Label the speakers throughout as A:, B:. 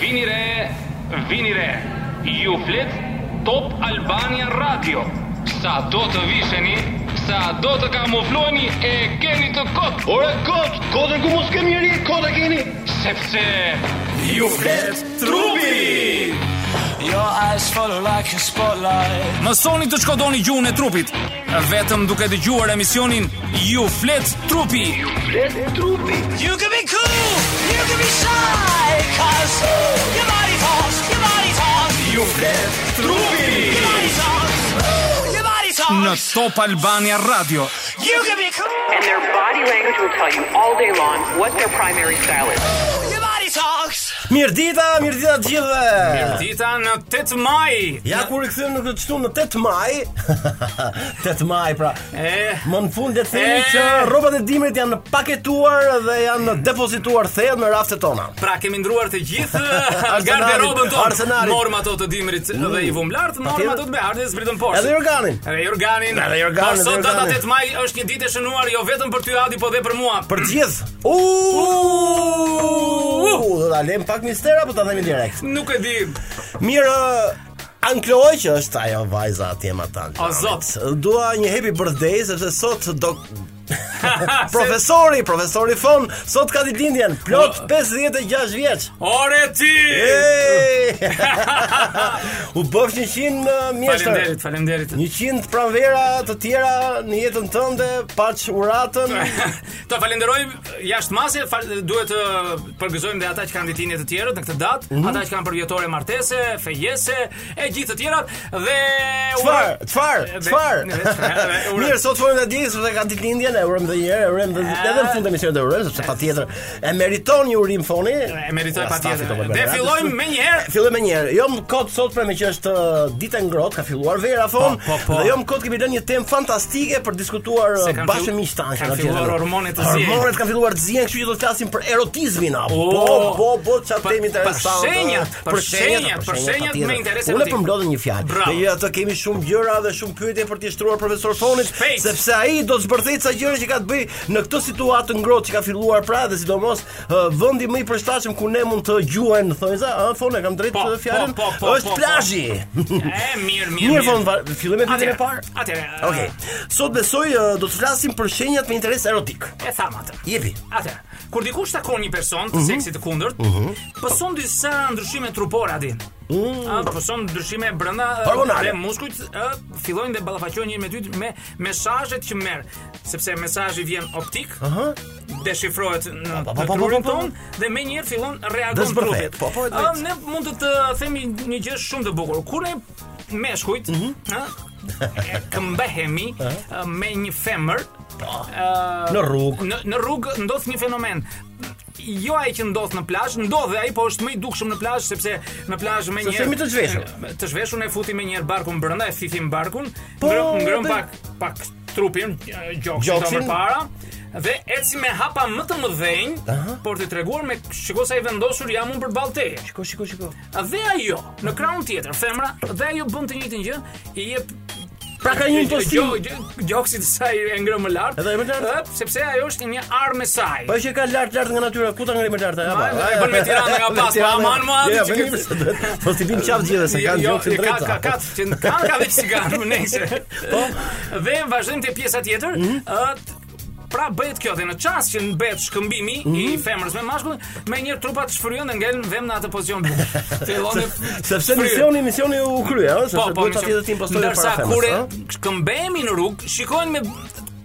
A: Vini re, vini re. Ju flet Top Albania Radio. Sa do të visheni, sa do të kamufloheni e keni të kot,
B: Ore kot, kodën ku mos kemi njëri, kot e keni.
A: sepse
C: Ju flet trupi
D: Your eyes follow like a spotlight.
C: Mësoni të shkodoni gjuhën e trupit Vetëm duke dëgjuar emisionin Ju flet trupi
B: Flet trupi.
D: You can be cool, you can be shy, cause ooh, your body talks, your body talks,
C: Ju flet
D: your
C: trupi
D: body talks, ooh, your body
C: Në
D: talks.
C: Top Albania Radio
D: You can be cool,
E: And their body language will tell you all day long what their primary style is.
D: your body talks.
F: Mirdita, mirdita të gjithëve.
C: Dita në 8 maj
F: Ja kur i kthyem në këtë shtunë në 8 maj. 8 maj pra.
C: E
F: Më në fund le të themi
C: E.
F: që rrobat e dimrit janë paketuar dhe janë depozituar thellë në raftet tona.
C: Pra kemi ndruar të gjithë
F: Arsenalit,
C: garderobën tonë.
F: Arsenalit. Mm.
C: Morëm ato të dimrit dhe i vum lart, morëm
F: Patjetër.
C: ato të beardhës zbritën poshtë.
F: Edhe Jorganin.
C: Edhe Jorganin.
F: Edhe Jorganin,
C: Por sot
F: edhe
C: data
F: Jorganin.
C: 8 maj është një ditë e shënuar jo vetëm për ty Adi, po dhe për mua.
F: Për të gjithë. U, do ta lëm pak mister apo ta themi direkt.
C: Nuk e di.
F: Mirë, Ankloj që është ajo vajza atje më tani.
C: O, zot.
F: Dua një happy birthday sepse sot do
C: Se-
F: Profesori, profesori Fon, sot ka ditëlindjen, plot
C: O.
F: 56 vjeç.
C: Ore ti.
F: Ej! U bëf 100 uh, mjeshtër.
C: Faleminderit, faleminderit.
F: 100 pranvera të tjera në jetën tënde, paç uratën.
C: Ta falenderojmë jashtë mase, fal, duhet të përgëzojmë dhe ata që kanë ditëlindje të tjerë në këtë datë,
F: Mhm.
C: ata që kanë për vjetore martese, fejese e gjithë të tjerat dhe
F: Çfar? Çfar? Çfar?
C: Dhe- dhe- dhe- uroj.
F: Mirë, sot folëm edhe dijes sepse ka ditëlindjen, e urojmë edhe një herë, e urojmë edhe
C: Ah.
F: edhe në fund të misionit e urojmë sepse patjetër e meriton një urim foni.
C: E meritoj
F: Ua,
C: patjetër.
F: stafi, Topol
C: Dhe
F: Belgradi.
C: fillojmë me é. një herë.
F: Fillojmë me një herë. Jo më kot sot pra me që është uh, ditë e ngrohtë, ka filluar vera fon.
C: Po, po, po.
F: Dhe jo më kot kemi lënë një temë fantastike për diskutuar
C: Se
F: uh,
C: kanë
F: bashkë
C: fillu-
F: me miqtan.
C: kanë filluar hormonet të zihen.
F: Hormonet kanë filluar të zihen, kështu që do të flasim për erotizmin apo.
C: O,
F: Po, po, po, çfarë
C: për-
F: temë
C: për
F: interesante.
C: shenjat,
F: uh,
C: për shenjat, për shenjat me
F: patjetër.
C: interes
F: Unë
C: erotik.
F: përmblodhem një fjalë.
C: Bravo.
F: Dhe jo ato kemi shumë gjëra dhe shumë pyetje për t'i shtruar profesor Fonit,
C: Shpejt.
F: sepse ai do të zbërthejë ca gjëra që ka të bëjë në këtë situatë të ngrohtë që ka filluar pra dhe sidomos uh, vendi më i përshtatshëm ku ne mund të gjuhen thonjza, ë Fon e kam drejt
C: Po,
F: të fjalën,
C: po, po, po, po,
F: është
C: po.
F: plazhi.
C: E mirë, mirë.
F: Mirë Fon, va- fillojmë me pyetjen
C: Atëherë,
F: e parë.
C: atëherë, e-
F: Okej. Sot besoj uh, do të flasim për shenjat me interes erotik.
C: E tham atë.
F: Jepi.
C: Atë, kur dikush takon një person
F: Mhm.
C: të seksit të kundërt, pëson disa ndryshime trupore aty. A, pëson ndryshime brenda ë,
F: Mm. Hormonale.
C: dhe muskujt ë, fillojnë dhe ballafaqohen njëri me tjetrin me mesazhet që merr, sepse mesazhi vjen optik, deshifrohet në në
F: po, po, po,
C: trurin
F: po, po.
C: ton dhe më njëherë fillon reagon
F: Dezbërthet.
C: trupi.
F: Po, po, e
C: Ë,
F: drejtë.
C: Ne mund të të themi një gjë shumë të bukur. Kur ne meshkujt,
F: Mhm.
C: ë, e këmbehemi ë, me një femër, ë,
F: Në rrugë.
C: në, në rrugë ndodh një fenomen. Jo ai që ndodh në plazh, ndodh ai, po është më i dukshëm në plazh sepse në plazh më një
F: jemi të zhveshur.
C: Të zhveshur ne futim me një herë barkun brenda, e fifim barkun,
F: Po,
C: ngrëm ngrëm
F: dhe-
C: pak pak trupin, gjoksin
F: Gjoksin.
C: të përpara dhe eci me hapa më të mëdhenj, por të treguar me shikoj sa i vendosur jam unë përballë teje.
F: Shiko, shiko, shiko.
C: Dhe ajo, në krahun tjetër, femra, dhe ajo bën të njëjtin gjë, i jep Jo,
F: Pra ka një impostim.
C: Gjo- gjo- Gjoksit sa i ngrëm më lart.
F: Edhe e më
C: ëp,
F: lart.
C: sepse ajo është një armë e saj.
F: Po që ka lart lart nga natyra, ku ta ngri më lart? Ja,
C: Ma, e bën me Tiranë nga pas, po aman, ma,
F: Ja,
C: që
F: bëni
C: këtë-
F: se duhet. Po ti vin qafë gjithë se kanë gjoksin
C: Jo, ka
F: drejtë.
C: ka ka që kanë ka vetë cigarë nëse. Po, dhe vazhdojmë te pjesa tjetër,
F: Mhm.
C: ë Pra bëhet kjo dhe në çast që bëhet shkëmbimi i
F: Mhm.
C: femrës me mashkullin, me një trupa të shfryen dhe ngelen vëm në atë pozicion. Fillon të-
F: Sepse
C: fryrë.
F: misioni, misioni u krye, ëh,
C: Po,
F: sepse
C: po,
F: duhet ta tjetë të impostojë
C: ndërsa
F: para
C: kure
F: femrës, ëh.
C: këmbehemi në rrugë, shikojnë me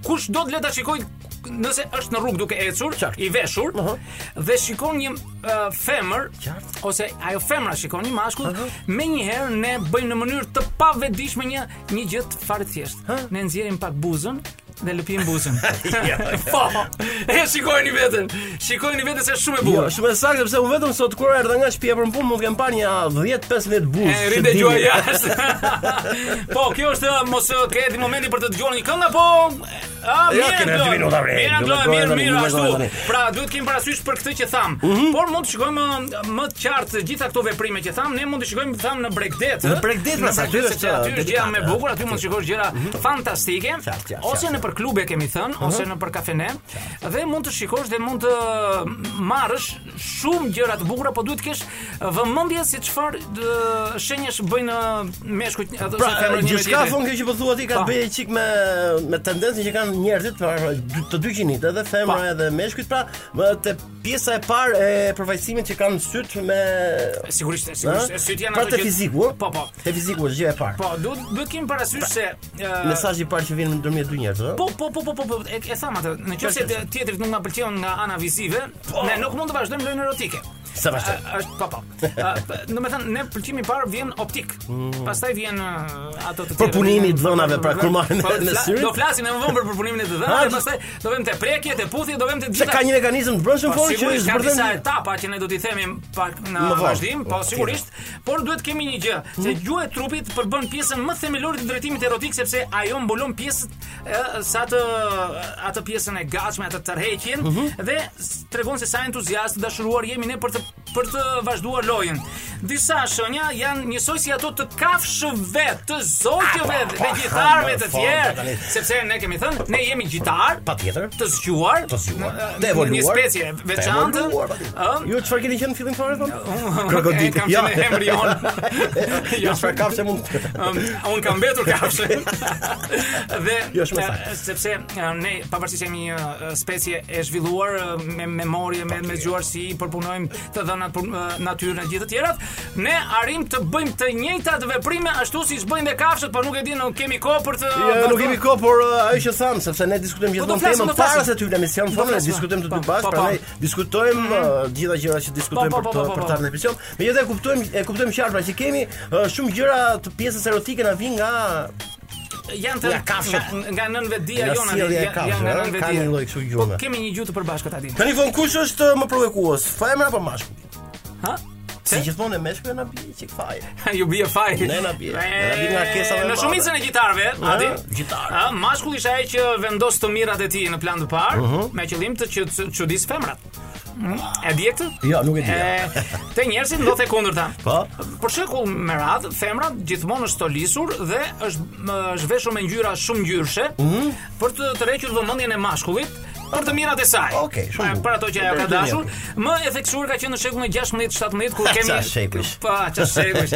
C: kush do të le ta shikoj nëse është në rrugë duke ecur,
F: Qartë.
C: i veshur,
F: Aha.
C: dhe shikon një uh, femër
F: Qartë.
C: ose ajo femra shikon një mashkull, me një herë ne bëjmë në mënyrë të pavetdijshme një një gjë të fare të thjeshtë. Ne nxjerrim pak buzën dhe lëpim buzën. po. E shikojni veten. Shikojni veten se është shumë e
F: Jo,
C: bukur.
F: shumë e saktë sepse unë vetëm sot kur erdha nga shtëpia për në punë mund të kem parë një 10-15 buzë.
C: E
F: që
C: rinde gjua
F: dilin.
C: jashtë. po, kjo është mos e keni momentin për të dëgjuar një këngë apo a
F: Ja,
C: mirë.
F: kene
C: Blo.
F: dy minuta, bre.
C: Mirë,
F: Do
C: blo,
F: me gojë
C: mirë,
F: tani,
C: mirë
F: do me
C: ashtu.
F: gojë tani.
C: Pra, duhet të kemi parasysh për këtë që tham.
F: Mhm.
C: Por mund të shikojmë uh, më të qartë gjitha këto veprime që tham, ne mund të shikojmë tham në Bregdet. ë?
F: Në Bregdet,
C: Në
F: pra, sa aty
C: Bregdet,
F: është,
C: sepse aty
F: uh,
C: është gjëra
F: delikate,
C: më e bukur, aty mund të shikosh gjëra
F: Mhm.
C: fantastike,
F: Qartë, qartë,
C: ose
F: qartë.
C: në
F: Mhm.
C: për klube kemi thënë, ose në për kafene, dhe mund të shikosh dhe mund të marrësh shumë gjëra të bukura, po duhet të kesh uh, vëmendje se çfarë uh, shenjesh bëjnë uh, meshkujt ato
F: Pra,
C: femrat njëri
F: gjithçka
C: tjetrit.
F: thon kjo që po thua ti ka
C: Pa.
F: të bëjë çik me me tendencën që kanë njerëzit pra dy- të dy gjinit, edhe femra
C: Pa.
F: edhe meshkujt, pra më te pjesa e parë e përfaqësimit që kanë syt me
C: Sigurisht, sigurisht.
F: Ha?
C: e Syt janë
F: pra
C: ato
F: te
C: që-
F: fiziku, ë? Pra,
C: Po, po.
F: Te fiziku është gjë e parë.
C: Po, duhet duhet kemi parasysh se uh,
F: Mesazhi i parë që vjen në ndërmjet dy njerëzve, ë?
C: Po, po, po, po, po, po, e, e tham atë. Në qoftë se të- tjetrit nuk na pëlqen nga ana vizive, ne nuk mund të vazhdojmë lojën erotike.
F: Po. Sa vazhdoj?
C: A- Është po po. Do të thënë ne përqimi i parë vjen optik. Pastaj vjen uh, ato të tjera.
F: Mm. Përpunimi i dhënave, pra, kur marrin
C: Po,
F: me
C: fla-
F: syrin.
C: Do flasim më vonë për përpunimin e të dhënave,
F: Ah, di-
C: pastaj do vëmë te prekje, te puthje, do vëmë te
F: Se
C: gjitha.
F: ka një mekanizëm të brendshëm
C: Po,
F: fort që
C: sigurisht ka
F: zbërthen.
C: disa etapa që ne do t'i themi pak në
F: Më vonë.
C: vazhdim, po
F: Po, Hmm?
C: sigurisht, por duhet kemi një gjë, se gjuha e trupit përbën pjesën më themelore të drejtimit erotik sepse ajo mbulon pjesën e, sa atë atë pjesën e gatshme, atë tërheqjen
F: Mhm.
C: dhe s- tregon se sa entuziast dashuruar jemi ne për të për të vazhduar lojën. Disa shenja janë njësoj si ato të kafshëve, të zotjeve dhe gjitarëve të
F: Ah, po,
C: tjerë,
F: tani.
C: sepse ne kemi thënë, ne jemi gjitar,
F: Patjetër.
C: të zgjuar,
F: Të zgjuar,
C: në-
F: të evoluar,
C: Një specie
F: të
C: veçantë.
F: evoluar, patjetër.
C: ë, Oh,
F: Ju çfarë keni qenë në fillim fare thonë?
C: e kam qenë embrion. Jo.
F: Jo, çfarë kafshë mund të
C: Um, un kam mbetur kafshë. dhe
F: Jo, shumë e saktë.
C: eh, sepse eh, ne pavarësisht jemi një eh, specie e zhvilluar eh, me memorie, me me gjuarsi, përpunojmë të dhënat për eh, natyrën e gjithë të tjerat, ne arrim të bëjmë të njëjtat veprime ashtu siç bëjnë dhe kafshët, por nuk e di, nuk kemi kohë për të
F: Jo, nuk kemi kohë, por uh, ajo që tham, sepse ne diskutojmë
C: po, do
F: gjithmonë
C: flasim,
F: temën
C: do flasim.
F: para se ty vlem emision,
C: Do
F: thonë ne
C: flasim.
F: diskutojmë të dy
C: Po, po,
F: bashkë, pra
C: po. Mm.
F: ne diskutojmë uh, gjitha gjërat që diskutojmë
C: Po,
F: për
C: po,
F: të
C: po, po,
F: për
C: po,
F: të ardhur në emision. Megjithatë e kuptojmë e kuptojmë qartë pra që kemi uh, shumë gjëra të pjesës erotike na vijnë nga
C: janë të
F: Ja, kafshët.
C: nga- nga nënvedia
F: Nga
C: jona,
F: sjellja e
C: janë- janë
F: kafshëve,
C: nga
F: ëh,
C: nënvedia.
F: ka një lloj kështu gjume.
C: Po kemi një gjuhë të përbashkët aty.
F: Tani von kush është uh, më provokues, femra apo mashkulli?
C: Ha?
F: Si gjithmonë e meshkujt na bie çik faje.
C: Ju bie faj.
F: Ne na bie. Ne na bie nga kesa dhe
C: Në
F: baba.
C: shumicën e gjitarëve, Adi,
F: gjitarë.
C: Ë, mashkulli është ai që vendos të mirat e tij në plan të parë,
F: Mhm.
C: me qëllim të që të çudis femrat. E di këtë?
F: Jo, nuk e di.
C: E, te njerëzit ndodhte kundërta.
F: Po.
C: Për shekull me radh, femrat gjithmonë është stolisur dhe është më- është veshur me ngjyra shumë ngjyrshe
F: Mhm.
C: për të tërhequr vëmendjen e mashkullit për të mirat e saj.
F: Okej, shumë
C: Pra-
F: bukur.
C: Për ato që ajo ka
F: Për të
C: dashur, më e theksuar ka qenë në shekullin e 16-17 kur kemi
F: Qa shekuj.
C: Pa, çfarë shekuj.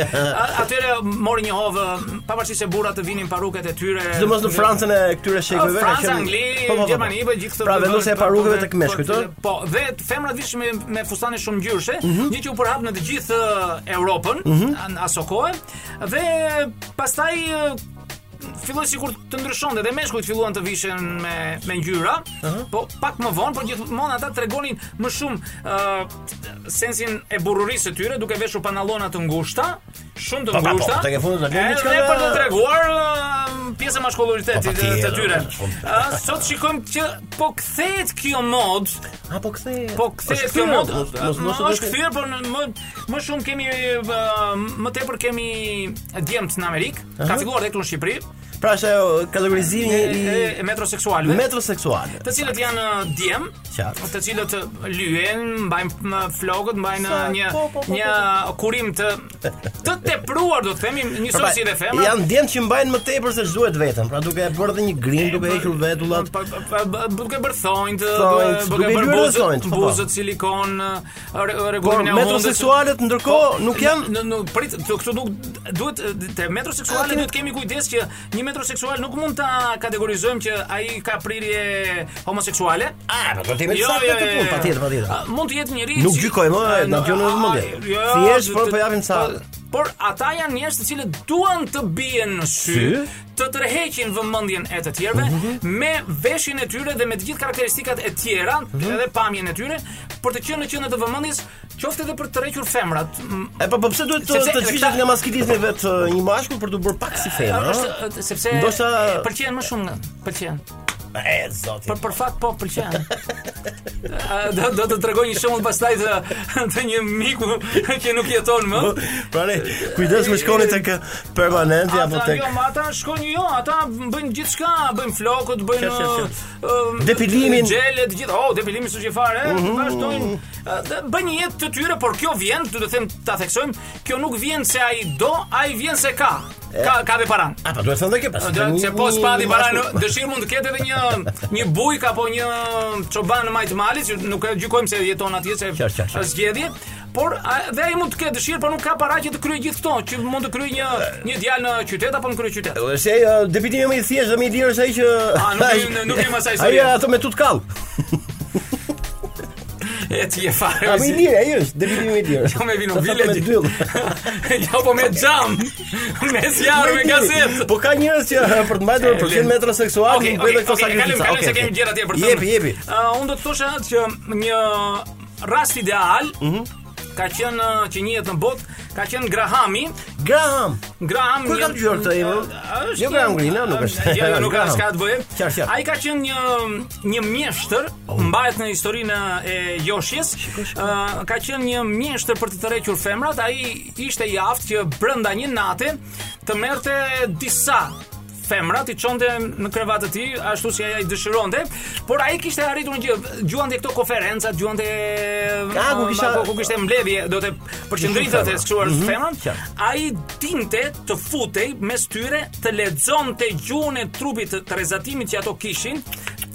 C: Atyre mori një hovë, pavarësisht se burrat të vinin paruket e tyre.
F: Sidomos në Francën e këtyre shekujve
C: A, Franca, Angli, Gjermani, po gjithë këto.
F: Pra
C: vende-
F: vendosja e parukëve tek meshkujt, ë?
C: Po, dhe femrat vishin me me fustane shumë ngjyrshe,
F: Mhm.
C: gjë që u përhap në të gjithë eh, Europën në aso kohë dhe pastaj eh, filloi sikur të ndryshonte dhe meshkujt filluan të vishen me me ngjyra, po pak më vonë, por gjithmonë ata tregonin më shumë eh, sensin e burrurisë së tyre duke veshur pantallona të ngushta, shumë të
F: Po, po, po,
C: ngushta.
F: tek e fundit do vjen diçka
C: Edhe
F: nga-
C: për të treguar eh, pjesën
F: Po,
C: maskulloritetit të
F: patjetër,
C: të tyre.
F: shumë.
C: Ah, Sot shikojmë që po kthehet kjo mod,
F: A po kthehet.
C: po kthehet
F: Është
C: kjo
F: kthyer,
C: mod.
F: mos- mos- mos-
C: Është kthyer, por në- më më shumë kemi eh, më tepër kemi djemtë në Amerikë, ka filluar edhe këtu në Shqipëri,
F: Pra është ajo kategorizimi
C: e,
F: i Pra,
C: e- e metroseksualëve.
F: metroseksuale.
C: të cilët janë eh, djem,
F: Qartë.
C: të cilët eh, lyhen, mbajnë eh, flokët, mbajnë eh,
F: Sa-
C: një
F: po, po, po,
C: një kurim të të tepruar, do të themi, njësoj
F: Pra,
C: si dhe femra.
F: Janë djem që mbajnë më tepër se ç'duhet veten, pra duke e bërë dhe një grim,
C: po,
F: duke hequr vetullat.
C: Pa- pa- pa- pa- Duke bërë thonjt,
F: Thonjt,
C: duke
F: duke
C: bërë
F: lyer
C: buzët,
F: thonjt, po, po.
C: buzët silikon, re-
F: Por
C: rregullimin e
F: metroseksualet
C: Po,
F: ndërkohë po, nuk janë
C: Në, në, prit, të, këtu nuk duhet te metroseksuali duhet kemi kujdes që një metroseksual nuk mund ta kategorizojmë që ai ka prirje homoseksuale.
F: Ah, po do të
C: Jo,
F: jemi saktë këtë punë, patjetër, patjetër.
C: A, Mund të jetë njëri
F: Nuk
C: që-
F: gjykojmë, e,
C: a,
F: na vjen në vëmendje.
C: jo,
F: Thjesht, por
C: të-
F: po japim sa-
C: po- Por ata janë njerëz të cilët duan të bien në sy,
F: Sy? Mhm.
C: të tërheqin vëmendjen e të tjerëve me veshin e tyre dhe me të gjithë karakteristikat e tjera,
F: Mhm.
C: edhe pamjen e tyre, për të qenë në qendër të vëmendjes, qoftë edhe për të tërhequr femrat. m-
F: E po po pse duhet të
C: Sepse
F: të
C: këta-
F: zhvishet nga maskilizmi vetë e, një mashkull për të bërë pak si femër,
C: Është
F: ëh?
C: e, sepse
F: Ndoshta-
C: e, pëlqen më shumë, pëlqen.
F: E zoti.
C: Për për fakt po pëlqen. A, do do të tregoj një shembull pastaj të, të një miku që nuk jeton më.
F: Pra ne, kujdes me shkoni tek permanenti apo
C: Ata
F: tek
C: jo, ma ata shkojnë jo, ata bëjnë gjithçka, bëjnë flokët, bëjnë
F: Qe, qe,
C: ë, ë,
F: Depilimin. Mhm.
C: gjelet, gjithë. Oh, depilimi s'është që fare, vazhdojnë. ë, dhe bëjnë një jetë të tyre, por kjo vjen, do të them ta theksojmë, kjo nuk vjen se ai do, ai vjen se ka. Ka ka dhe paran.
F: A pa duhet thënë dhe kjo pas.
C: Do
F: një-
C: se po
F: një-
C: spati
F: një
C: para në
F: mashkull.
C: dëshirë mund të ketë edhe një një bujk apo një çoban në majt malit, që nuk e gjykojmë se jeton atje se
F: Qartë, qartë, qartë.
C: është zgjedhje, por a- dhe ai mund të ketë dëshirë, por nuk ka para që të kryejë gjithë këto, që mund të kryejë një një djalë në qytet apo në krye qytet.
F: Po, Se uh, deputimi më i thjeshtë dhe më i lirë është ai që
C: A, nuk i- nuk- nuk i masaj
F: Ai
C: historia.
F: ato me tutkall.
C: E ti je fare.
F: A më i lirë ai është deputimi më i lirë.
C: Jo me vino
F: Sa thotë
C: vile.
F: me dyll.
C: Jo po me xham. Me zjarr me gazetë.
F: Po ka njerëz që uh, për të mbajtur për qenë metroseksual
C: Okej,
F: nuk bëjnë
C: okej,
F: këto
C: okej, kalojmë,
F: sakrifica.
C: kalojmë se
F: Okej,
C: kemi
F: okej.
C: gjëra tjetër për të.
F: Jepi, jepi.
C: Uh, unë do të thosha që një rast ideal
F: Mhm.
C: ka qenë uh, që njihet në botë, ka qenë Grahami,
F: Graham.
C: Graham
F: Kur
C: një-
F: kam dëgjuar këtë emër?
C: Uh, është
F: Jo
C: një-
F: Graham Greene, nuk
C: uh,
F: është.
C: Jo, jo, nuk ka
F: Graham.
C: s'ka të bëjë.
F: Qartë, qartë. Oh.
C: Ai ka qenë një një mjeshtër, mbahet në historinë e Joshjes. Uh, ka qenë një mjeshtër për të tërhequr femrat, ai ishte i aftë që brenda një nate të merrte disa femra ti çonte në krevat të tij ashtu si ai dëshironte, por ai kishte arritur një gjë, gjuante këto konferenca, gjuante
F: Ka, ku
C: uh,
F: kisha-
C: ku- ku kishte mbledhje, do të përqendritet
F: femra.
C: të shkruar
F: Mhm.
C: femrën,
F: Qartë.
C: ai dinte të futej mes tyre të lexonte gjuhën e trupit të, të rezatimit që ato kishin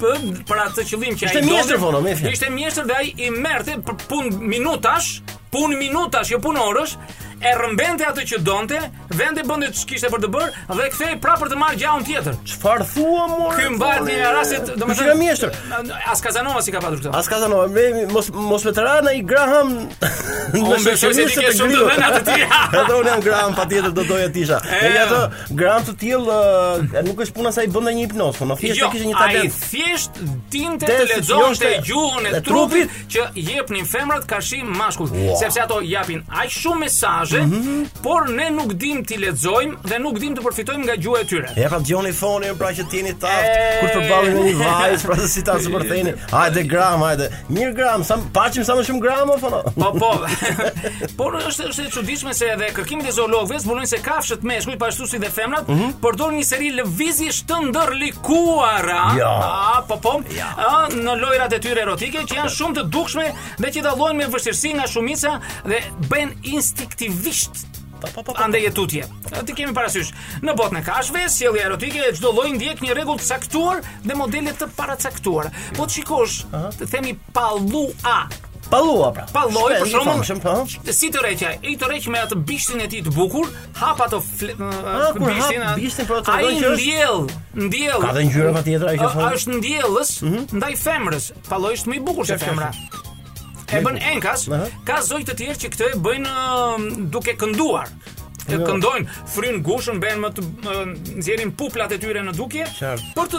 C: për, për atë qëllim që ai
F: Ishte mjeshtër, Vono, me fjalë.
C: Ishte mjeshtër dhe ai i merrte për punë minutash, punë minutash, jo punë orësh, e rrëmbente atë që donte, vende bënte ç'kishte kishte për të bërë dhe kthej prapë për të marrë gjaun tjetër.
F: Çfarë thua more?
C: Ky mbahet një rastet,
F: domethënë.
C: domethënë.
F: Ishte mjeshtër.
C: As Kazanova si ka patur këtë.
F: As ka thënë, me- mos mos me të ra në i Graham.
C: Po, Unë besoj se ti ke shumë të dhëna të tija.
F: Edhe unë jam Graham patjetër do doja tisha.
C: E,
F: Edhe ato Graham të tillë ë, nuk është puna sa i bënte një hipnoz, po në thjesht
C: Jo,
F: e kishte një
C: ai
F: talent.
C: thjesht dinte
F: Te
C: të
F: si
C: lexonte
F: qofte
C: gjuhën e
F: e
C: trupit
F: trupit.
C: që jepnin femrat kashim mashkullt,
F: Ua.
C: sepse ato japin aq shumë mesazhe,
F: Mhm.
C: por ne nuk dim ti lexojmë dhe nuk dim të përfitojmë nga gjuha e tyre.
F: Ja pra dëgjoni fonin pra që t'jeni taft
C: E.
F: kur të përballeni me një vajzë pra se si ta zbërtheni. Hajde gram, hajde. Mirë gram, sa paçim sa më shumë gram o fono.
C: Po po. por është është e çuditshme se edhe kërkimet e zoologëve zbulojnë se kafshët meshkuj po ashtu si dhe femrat përdorin një seri lëvizjesh të ndërlikuara.
F: Ja.
C: A, po po. A, në lojrat e tyre erotike që janë shumë të dukshme dhe që dallojnë me vështirësi nga shumica dhe bën instinktivisht
F: Po,
C: Andaj e tutje. Ti kemi parasysh. Në botën e kashve, sjellja erotike e çdo lloji ndjek një rregull të caktuar dhe modele të paracaktuara. Po të shikosh, të themi pallu A,
F: Pallua pra.
C: Pa lloj, për
F: Shpejt,
C: shembull,
F: famshëm, po.
C: si të rreqja, i të rreq me atë bishtin e tij të bukur, hap ato fl-
F: Ah, kur hap bishtin, pra, të
C: ai
F: regoj që është-
C: ndjell, ndjell.
F: Ka dhe ngjyra patjetër ai Mhm. që
C: Ë,
F: thonë.
C: Është ndjellës ndaj femrës. Palloj është më i bukur se
F: Qartë,
C: femra. E bën enkas,
F: Aha.
C: ka zoj të tjerë që këtë e bëjnë ë, duke kënduar. E
F: Jo.
C: këndojnë, fryn gushën, bën më të ë, nxjerrin puplat e tyre në dukje
F: Qartë.
C: për të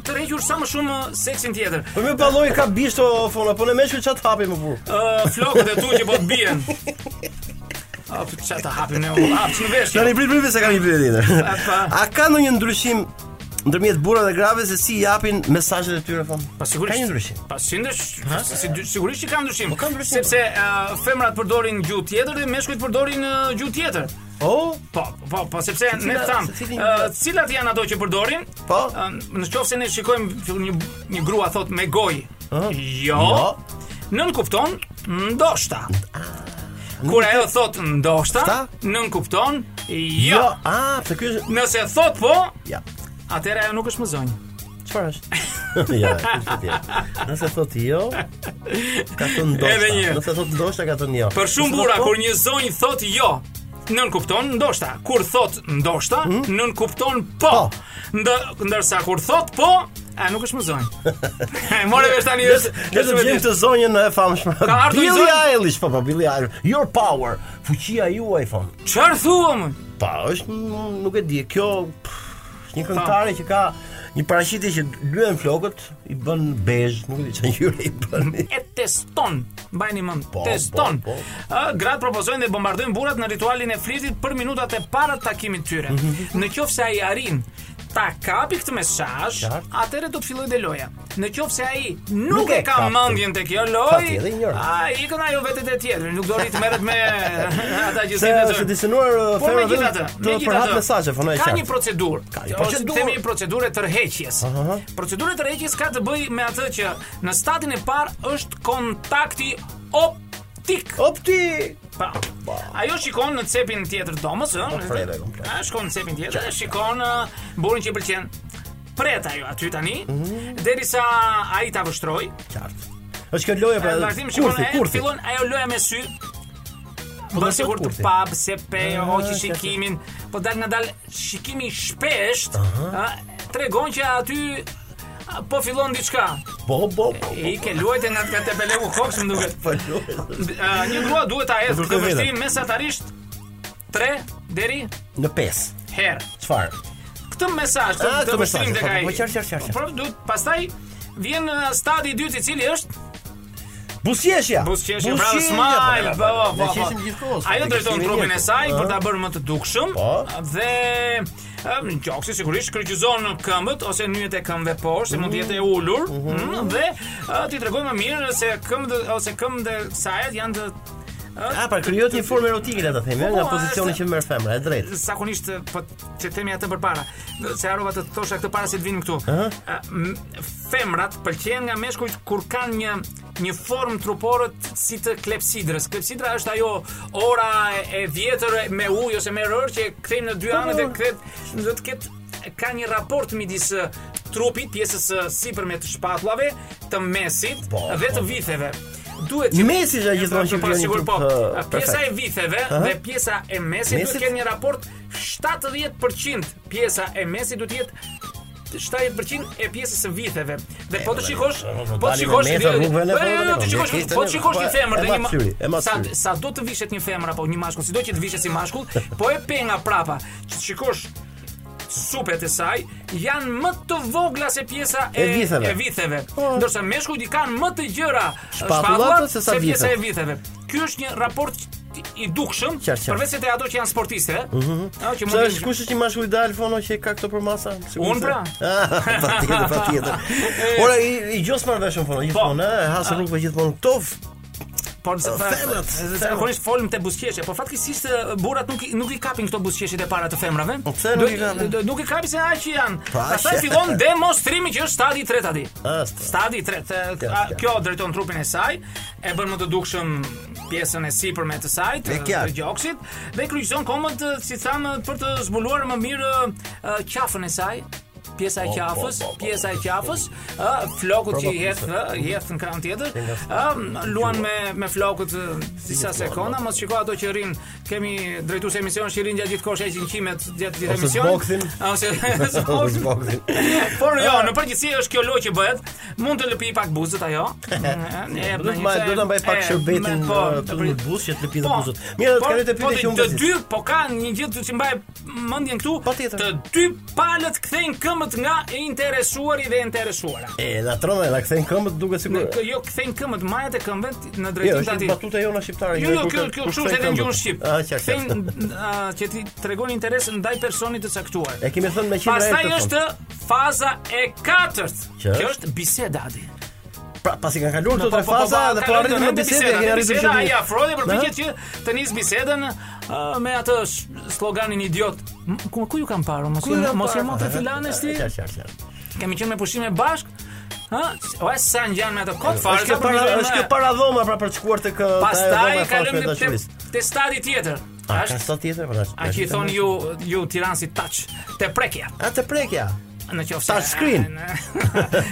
C: të rrequr sa më shumë ë, seksin tjetër.
F: Po më palloj ka bisht o fono, po në meshkuj çat hapi më burr.
C: Ë, flokët e tu që po të bien. A po çfarë ta hapim ne? u Hap në vesh.
F: Tani prit prit se kam një pyetje
C: A,
F: tjetër.
C: pa.
F: A ka ndonjë ndryshim ndërmjet burrave dhe grave se si japin mesazhet e tyre fam?
C: Pa sigurisht.
F: Ka një ndryshim.
C: Pa sindesh, si, si- sigurisht që ka ndryshim.
F: Po, ka ndryshim.
C: Sepse ë, femrat përdorin gjuhë tjetër dhe meshkujt përdorin ë, gjuhë tjetër.
F: Po,
C: Po, po, po sepse ne
F: cilat-
C: tham,
F: se cilin-
C: ë, cilat janë ato që përdorin?
F: Po.
C: Ë, Në qoftë se ne shikojmë një një grua thot me gojë.
F: Jo.
C: Jo. Nën kupton, ndoshta. Kur ajo thot ndoshta,
F: Sta?
C: nën kupton,
F: jo.
C: jo.
F: Ah, pse ky është
C: Nëse thot po,
F: ja.
C: Atëherë ajo nuk është më zonjë.
F: Çfarë është? ja, është tjetër. Nëse thotë jo, ka thënë ndoshta.
C: Edhe një.
F: Nëse thotë ndoshta ka thënë jo.
C: Për shumë
F: Nëse
C: bura
F: thotë po,
C: kur një zonjë thot jo, nën kupton ndoshta. Kur thot ndoshta, nën kupton Hmm? po.
F: Po.
C: Ndë, ndërsa kur thot po, a nuk është më zonjë. E, More vesh tani
F: Le
C: është.
F: le të
C: është
F: gjejmë
C: vetë.
F: të zonjën e famshme.
C: Ka ardhur një
F: Billie
C: zonjë?
F: Eilish, po po Billie Eilish. Your power, fuqia juaj fam.
C: Çfarë thua më?
F: Pa, është n- nuk e di. Kjo pff, është një këngëtare që ka një paraqitje që lyen flokët, i bën bezh, nuk e di çfarë ngjyre i bën.
C: E teston. Mbajeni mend,
F: Po,
C: teston.
F: po, po.
C: Ë, gratë propozojnë dhe bombardojnë burrat në ritualin e flirtit për minutat e para të takimit tyre.
F: Mhm,
C: Në qoftë se ai arrin ta kapi këtë mesazh,
F: Qartë.
C: atëherë do të fillojë dhe loja. Në qoftë se ai nuk,
F: Nuk
C: e
F: e
C: ka
F: kapti.
C: mendjen tek kjo
F: Fati edhe
C: lojë,
F: ignorant.
C: ai ikën ajo vetë e tjetër, nuk do rritë merret me ata që
F: Se
C: si
F: është disenuar uh,
C: Por
F: femra
C: Po, megjithatë,
F: vetëm të përhat
C: megjithatë,
F: mesazhe, fono e
C: Ka
F: qartë.
C: një procedurë.
F: Ka një
C: ose
F: procedurë.
C: Themi një procedurë e tërheqjes.
F: Aha.
C: Procedura e tërheqjes ka të bëjë me atë që në statin e parë është kontakti optik.
F: Opti.
C: Pa. ajo shikon në cepin tjetër të domës, ëh.
F: frere komplet.
C: A shkon në cepin tjetër, e shikon ë, burrin që i pëlqen. Pret ajo aty tani,
F: Mhm.
C: derisa ai ta vështroi.
F: qartë. Është kjo loja pra.
C: Në vazhdim shikon
F: Kurthi,
C: e
F: kurthi.
C: fillon ajo loja me sy. Po
F: Po
C: dal
F: do
C: sigur të
F: kurthi.
C: pub, se pe,
F: Ah,
C: hoqi
F: qartë.
C: shikimin, po dal nga dal shikimi i shpesht, ë, tregon që aty a, po fillon diçka.
F: Po, po, po.
C: I ke luajtë nga nga tepeleu koks më duket.
F: Po, luaj.
C: B- a, Një grua duhet ta hedhë
F: Ndërtoj
C: këtë
F: veten.
C: vështrim mesatarisht 3 deri
F: Në pesë.
C: herë.
F: Çfarë?
C: Këtë mesazh të,
F: Ah,
C: të
F: këtë mesazh,
C: vështrim tek
F: po, po,
C: ai.
F: po, qartë, qartë, qartë.
C: Po duhet pastaj vjen uh, stadi i dytë i cili është
F: Buzqeshja.
C: buzqeshja,
F: Buzqeshja,
C: bravo
F: po,
C: smile, po
F: po,
C: po,
F: Ne
C: po.
F: qeshim gjithkohës.
C: Ajo
F: ne
C: drejton
F: kishim
C: trupin e
F: njerëz.
C: saj për ta
F: Ah,
C: bërë më të dukshëm
F: Po.
C: dhe um, gjoksi sigurisht kryqëzon këmbët ose nyjet e këmbëve poshtë, se mund të jetë e ulur, mm, dhe uh, ti tregoj më mirë se këmbët ose këmbët e saj janë të
F: Ah, pra krijohet një formë erotike le ta themi,
C: Po,
F: nga
C: po,
F: pozicioni
C: se-
F: që merr femra, e drejtë.
C: zakonisht po që themi atë përpara. Se harrova të thosha këtë para se të vinim këtu. Ë, m- Femrat pëlqejnë nga meshkujt kur kanë një një formë trupore t- si të klepsidrës. Klepsidra është ajo ora e- e vjetër e- me ujë ose me rër që e kthejmë në dy
F: Po,
C: anët e kret do të ketë ka një raport midis ë, trupit, pjesës ë, sipërme të shpatullave, të mesit
F: Po,
C: dhe
F: po,
C: të
F: po.
C: vitheve. Duhet që-
F: Mesi është ai gjithmonë që
C: Po,
F: vjen një
C: sigur,
F: trup,
C: po.
F: ë,
C: Pjesa e
F: perfekt.
C: vitheve dhe pjesa e mesit duhet të
F: Mesit?
C: ketë një raport 70%. Pjesa e mesit duhet të jetë 70% e pjesës së vitheve. Dhe po të
F: po,
C: shikosh,
F: po, po,
C: po të
F: dalim
C: shikosh
F: me
C: një
F: metra rrugëve në
C: Po,
F: po,
C: jo, jo, të
F: po, po,
C: shikosh,
F: po,
C: po të shikosh
F: po,
C: një femër
F: e
C: dhe një
F: mat syri,
C: ma-
F: e mat
C: sa
F: syri.
C: sa do të vishet një femër apo një mashkull, sido që të vishet si mashkull, po e penga prapa. Që të shikosh supet e saj janë më të vogla se pjesa e,
F: E vitheve. Ah.
C: e vitheve. Ndërsa meshkujt i kanë më të gjëra
F: Shpatullat
C: shpatullat
F: se sa
C: se pjesa
F: vithet.
C: e vitheve. Ky është një raport i- i dukshëm,
F: Qartë, qartë.
C: përveç se te ato që janë sportiste, ëh, që
F: Sa
C: mund
F: është kush është i mashkull ideal fono që ka këto për masa? Sigurisht
C: Unë
F: se-
C: pra.
F: Ah, Patjetër, patjetër. Ora i, i gjos marr veshën fono gjithmonë, ë, has rrugëve gjithmonë këto. f-
C: Po se fa-
F: femrat,
C: se
F: femrat.
C: zakonisht folim te buzqeshje, po fatkeqësisht e, burrat nuk i- nuk i kapin këto buzqeshjet e para të femrave.
F: Po pse nuk i kapin?
C: Do- do- Nuk i kapin se aq janë.
F: Pa,
C: Pastaj
F: që-
C: fillon demonstrimi që është stadi i tretë aty.
F: Ah, sta-
C: Stadi i tretë, e, a-
F: kjo.
C: kjo drejton trupin e saj, e bën më të dukshëm pjesën e sipërme të saj, të,
F: Me
C: të
F: qartë.
C: gjoksit, dhe kryqëzon kombët, e, si thamë, për të zbuluar më mirë e, e, qafën e saj pjesa e qafës,
F: po, po, po.
C: pjesa e qafës, ë flokut që i
F: Provokuese.
C: hedh ë, i hedh në krahun tjetër, ë luan me me flokut ë, disa sekonda,
F: po.
C: mos shiko ato që rrin, kemi drejtues emision që rrin gjatë gjithë kohës 100-met gjatë gjithë
F: Ose
C: emisionit.
F: zboksin.
C: Ose
F: Ose
C: zboksin.
F: zboksin.
C: Por jo,
F: Ah.
C: në përgjithësi është kjo lojë që bëhet. Mund të lëpi pak buzët ajo. E,
F: Do të mbaj, do ta mbaj pak
C: e,
F: shërbetin
C: me-
F: po,
C: për-
F: në buzë që të lëpidë
C: po,
F: buzët. Mirë,
C: por-
F: të kanë të
C: po,
F: pyetje që unë.
C: Të
F: bëzis.
C: dy po kanë një gjë që mbaj mendjen këtu.
F: Patjetër.
C: Të dy palët kthejnë këmbët nga e interesuari dhe e interesuara.
F: E, na trona, na kthejnë këmbët duket sikur.
C: Në- kë- Jo kthejnë këmbët majat e këmbëve në
F: Jo,
C: drejtim të
F: është një
C: atij.
F: batuta jona shqiptare.
C: Jo,
F: një
C: jo,
F: kur-
C: kjo kjo
F: kur
C: kështu se
F: kthejnë
C: edhe në
F: këmbët.
C: gjuhën shqip.
F: Ah, qartë.
C: Kthejnë
F: qartë.
C: a, që ti tregon interes ndaj personit të caktuar.
F: E kemi thënë me 100 herë.
C: Pastaj
F: këtë
C: është faza e katërt.
F: Që
C: Kjo
F: është?
C: është biseda aty.
F: Pra, pasi kanë kaluar këto
C: Po,
F: tre
C: po, po,
F: faza
C: po,
F: dhe
C: ka
F: po arritëm
C: rënë
F: në
C: në
F: bisedë,
C: biseda,
F: kemi
C: në
F: arritur
C: biseda,
F: që.
C: ai afroi dhe përpiqet
F: Na?
C: që të nis bisedën ë, me atë sh- sloganin idiot. M- Ku ku ju kam parë? Mos ju mos ju motë filanes ti.
F: Qartë, qartë, qartë.
C: Kemi qenë me pushime bashk. Ha? O e sa ngjan me ato kot
F: Është
C: fare.
F: kjo
C: sa
F: para,
C: përpiqem-
F: është kjo paradhoma pra për të shkuar tek uh,
C: Pastaj
F: ajo dhoma e
C: kalojmë
F: fashme e
C: te- te
F: dashurisë.
C: te stadi tjetër.
F: A ka
C: Është
F: sa tjetër pra?
C: A që i thonë ju, ju tiranë si touch Te prekja
F: A të prekja.
C: Në qoftë
F: Touch screen.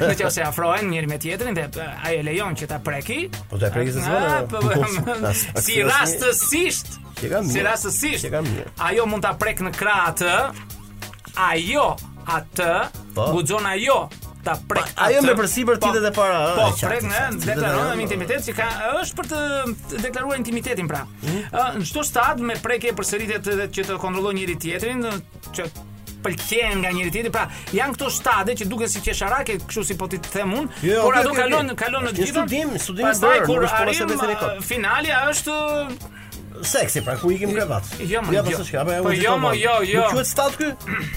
C: Në qoftë se afrohen njëri me tjetrin Dhe e, ai e lejon që ta preki
F: Po ta preki se s'von,
C: Ah,
F: e,
C: po,
F: po,
C: po,
F: as- as-
C: Si
F: as-
C: rastësisht
F: Që ka mirë,
C: Si rastësisht
F: që ka mirë.
C: Ajo mund ta prek në krah atë Ajo atë
F: Po.
C: Guxon ajo ta prek
F: Pa, ajo
C: atë.
F: me përsipër
C: Po,
F: titët e para, ah,
C: Po,
F: e qartë,
C: prek në
F: qartë, titët e
C: deklaron
F: para.
C: me intimitet që ka është për të të deklaruar intimitetin pra.
F: Hm?
C: Ë, Në çdo stad me prekje përsëritet edhe që të kontrollojë njëri tjetrin, ë, që pëlqen nga njëri tjetri. Pra, janë këto stade që duken si qesharake, kështu si po ti them unë,
F: Jo, jo,
C: por
F: okay,
C: ato
F: okay,
C: kalon
F: okay.
C: kalon në
F: Është një
C: gjithë.
F: studim, studim i
C: Pastaj
F: bërë,
C: kur
F: nuk është po. puna se
C: arrim
F: beseni kot.
C: ë, finalja është
F: Po, Seksi, pra ku ikim krevat.
C: Jo, mo,
F: ja,
C: jo.
F: pas s'ka.
C: Po, jo, mo, jo, jo.
F: Nuk quhet stat ky?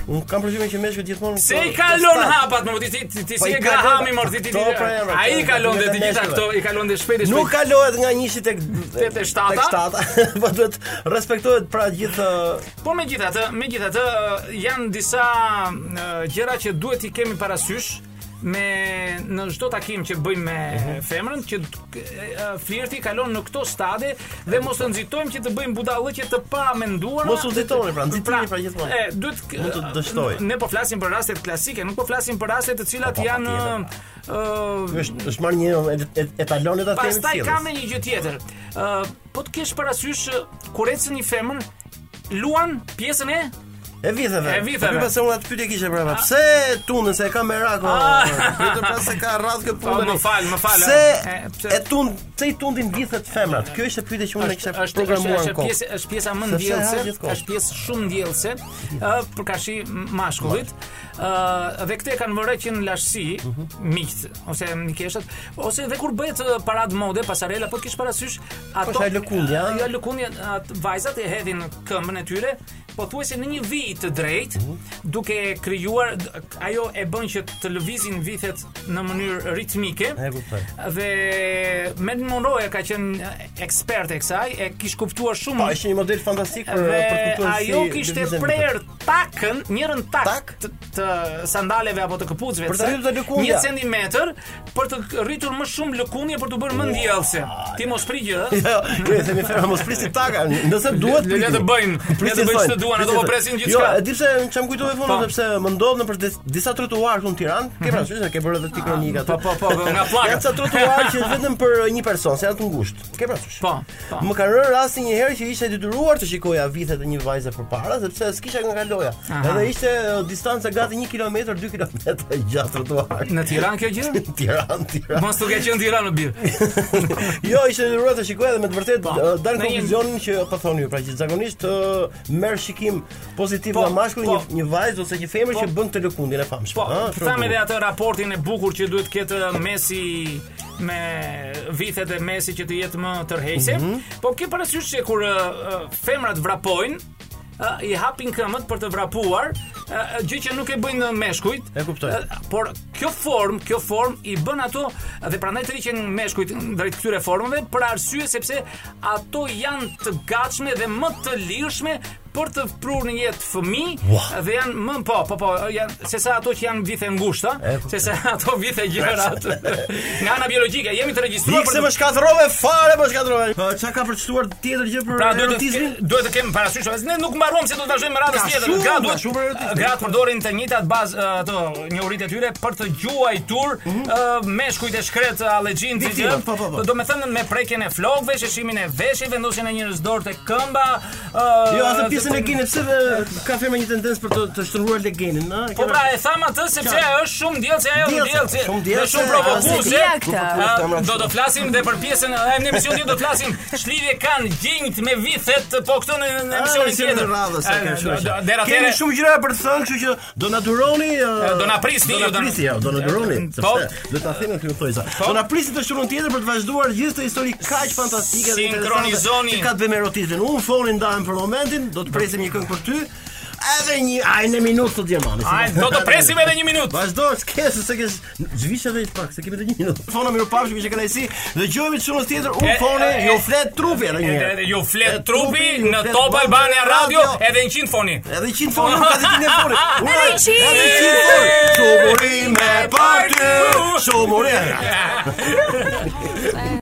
F: Un kam përgjithësinë që meshkët gjithmonë.
C: se i
F: këto-
C: kalon
F: stat.
C: hapat, më ti ti ti- ti
F: Po,
C: si
F: i
C: e
F: kalon-
C: grahami mor ti ti.
F: Këto, pra, janë,
C: Ai i
F: këto,
C: kalon
F: janë
C: dhe
F: të
C: të gjitha
F: meshkëve.
C: këto, i kalon dhe shpejt e
F: Nuk
C: shpejt.
F: kalohet nga njëshi tek
C: Tek
F: tek
C: shtata?
F: shtata, po duhet respektohet pra gjithë
C: Po me gjithatë, me gjithatë janë disa ë, gjëra që duhet i kemi parasysh me në çdo takim që bëjmë me
F: Mhm.
C: femrën që t- e, e, flirti kalon në këto stade dhe mos të nxitojmë që të bëjmë budallëqe të pa menduara.
F: Mos u nxitoni, pra, nxitimi pra gjithmonë.
C: E duhet k-
F: Mund të dështoj.
C: Ne po flasim për rastet klasike, nuk po flasim për raste të cilat
F: Po, po,
C: janë
F: patjetër.
C: ë
F: është është marrë një et- et- etalonet atë të
C: Pastaj ka
F: sjelljes.
C: me një gjë tjetër. Ë, po të kesh parasysh ë, kur ecën një femër, luan pjesën e
F: E vitheve.
C: E vitheve.
F: Po pse unë atë pyetje kishe brava. Pse tunën se e ka me rako?
C: Ah.
F: Vetëm pra se ka radh kë punë.
C: Po, më fal, më fal, ah.
F: Se
C: e, pse-
F: e tund, pse i tundin vithet femrat? Kjo është pyetja që unë e kisha
C: është
F: programuar
C: është
F: në kokë.
C: pjesë është pjesa më
F: Sepse ha
C: ndjellëse,
F: gjithkohë.
C: është pjesë shumë ndjellëse, ë për kashi mashkullit. ë dhe këte kanë vërë që në lashësi
F: Mhm.
C: miqt ose mikeshët ose dhe kur bëhet ë, parad mode, pasarela, po kish parasysh ato
F: Po, sa lëkundja, a?
C: Jo lëkundja, atë vajzat e hedhin këmbën e tyre, pothuajse në një vijë të drejtë,
F: Mhm.
C: duke krijuar d- ajo e bën që të lëvizin vithet në mënyrë ritmike.
F: E kuptoj.
C: Dhe Mad Monroe ka qenë ekspert e kësaj, e kish kuptuar shumë.
F: Po, ishte një model fantastik për
C: dhe
F: për të kuptuar si.
C: ajo kishte
F: lëvizjen e
C: prerë takën, njërën tak,
F: Tak?
C: Të, të sandaleve apo të këpucëve.
F: Për të rritur të lëkundja.
C: Një centimetër për të rritur më shumë lëkundje për të bërë më ndjellëse. Ti mos prigjë, ëh.
F: Jo, jo, e themi ferma mos prisni taka, nëse duhet
C: le- le të bëjnë, le të
F: Prisni
C: bëjnë
F: thonë,
C: ç'të duan, ato
F: prisni
C: po
F: thonë.
C: presin gjithçka.
F: Jo, e di pse çam kujtove
C: Po. Mhm.
F: fundit sepse më ndodh nëpër dis- disa trotuar këtu në Tiranë, ke parasysh se ke bërë edhe ti kronika aty.
C: po, po, po, nga pllakat.
F: Janë ca trotuar që janë vetëm për një person, se janë të ngushtë. Ke parasysh?
C: Po, po.
F: Më ka rënë rasti një herë që isha detyruar të shikoja vithet e një vajze përpara sepse s'kisha nga kaloja.
C: Aha.
F: Edhe ishte eh, distanca gati 1 kilometër, 2 kilometra gjatë trotuarit.
C: Në Tiranë kjo gjë?
F: Tiranë, Tiranë.
C: Mos të ke qenë Tiranë në birë.
F: Jo, ishte në rrugë të shikoj edhe me të vërtetë
C: Po.
F: ë, dal
C: Ne
F: në konkluzionin që po thoni ju, pra që zakonisht ë, merr shikim pozitiv
C: Po,
F: nga mashkulli
C: po.
F: një një vajzë ose një femër që bën këtë lëkundjen e famshme.
C: Po,
F: ha,
C: të
F: shumë
C: tham
F: bukur.
C: edhe atë raportin e bukur që duhet ketë Messi me vithet e Messi që të jetë më tërheqëse.
F: Mhm.
C: Po ke parasysh që kur ë, ë, femrat vrapojnë, ë, i hapin këmbët për të vrapuar, ë, ë, gjë që nuk e bëjnë meshkujt.
F: E kuptoj.
C: Ë, por kjo form, kjo form i bën ato dhe prandaj të riqen meshkujt drejt këtyre formave për arsye sepse ato janë të gatshme dhe më të lirshme për të prurë në jetë fëmijë
F: Ua.
C: dhe janë më po, po, po, janë se sa ato që janë vithe ngushta,
F: E, po. kuptoj.
C: se sa ato vithe gjëra atë. Nga ana biologjike jemi të regjistruar
F: Ikse
C: për
F: më shkatërrove fare, më shkatërrove. Ë, Çka ka për të shtuar tjetër gjë për
C: Pra duhet të
F: erotizmin?
C: ke- duhet të kemi parasysh, ne nuk mbaruam se do të vazhdojmë me radhës
F: Ka
C: tjetër.
F: shumë,
C: Gra
F: ka
C: duhet
F: shumë erotizmi.
C: Gra përdorin të njëjtat bazë ë, ato njohuritë e tyre për të gjuajtur ë, meshkujt e shkret allegjin të
F: Viktimat, Mhm. po, po, po.
C: Do të thënë me prekjen e flokëve, sheshimin e veshjeve, vendosjen e njerëz dorë te këmba.
F: Jo, atë pjesën e keni pse dhe ka firma një tendencë për të të shtrënguar legendën, ha?
C: Po pra e tham atë sepse ajo është shumë ndjellëse, ajo është
F: Ndjellëse,
C: ndjellëse,
F: shumë
C: dhe
F: ndjellëse,
C: shumë
F: as-
C: provokuese.
G: Ja, këtë.
C: Ah, Do të flasim dhe për pjesën e në emision tjetër do të flasim shlidhje kanë gjinjt me vithet po këto në në emisionin
F: emisionin
C: tjetër.
F: e radhës,
C: Ah,
F: e kemi, kështu është.
C: Dera
F: Kemi
C: atëre
F: shumë gjëra për të thënë, kështu që do na duroni. ë,
C: do na prisni,
F: Do na
C: ju, do na-
F: prisni, jo, do na duroni.
C: Po.
F: sepse Do ta thënë aty thojza. Do na prisni të shurën tjetër për të vazhduar gjithë këtë histori kaq fantastike dhe interesante.
C: Sinkronizoni.
F: Që ka të bëjë me erotizmin. Unë fonin ndahem për momentin, do të presim një këngë për ty. Edhe një ajnë minutë të po. djemani.
C: Ai do të presim edhe një minutë.
F: Vazhdo, s'ke se se ke zhvish edhe pak, se kemi të një minutë. Fona miru pafshim që kanë si. Dëgjojmë të shurën tjetër,
C: E,
F: unë
C: e,
F: foni,
C: e,
F: ju flet trupi edhe një.
C: Edhe-
F: herë.
C: edhe Ju flet
F: E,
C: trupi
F: ju
C: në
F: flet
C: Top
F: Ballbania
C: Albania Radio edhe 100 foni.
F: Edhe 100 fonë nuk ka të dinë fonë. Ura,
G: Edhe 100.
F: Edhe 100 fonë. Shumuri me party. Shumuri.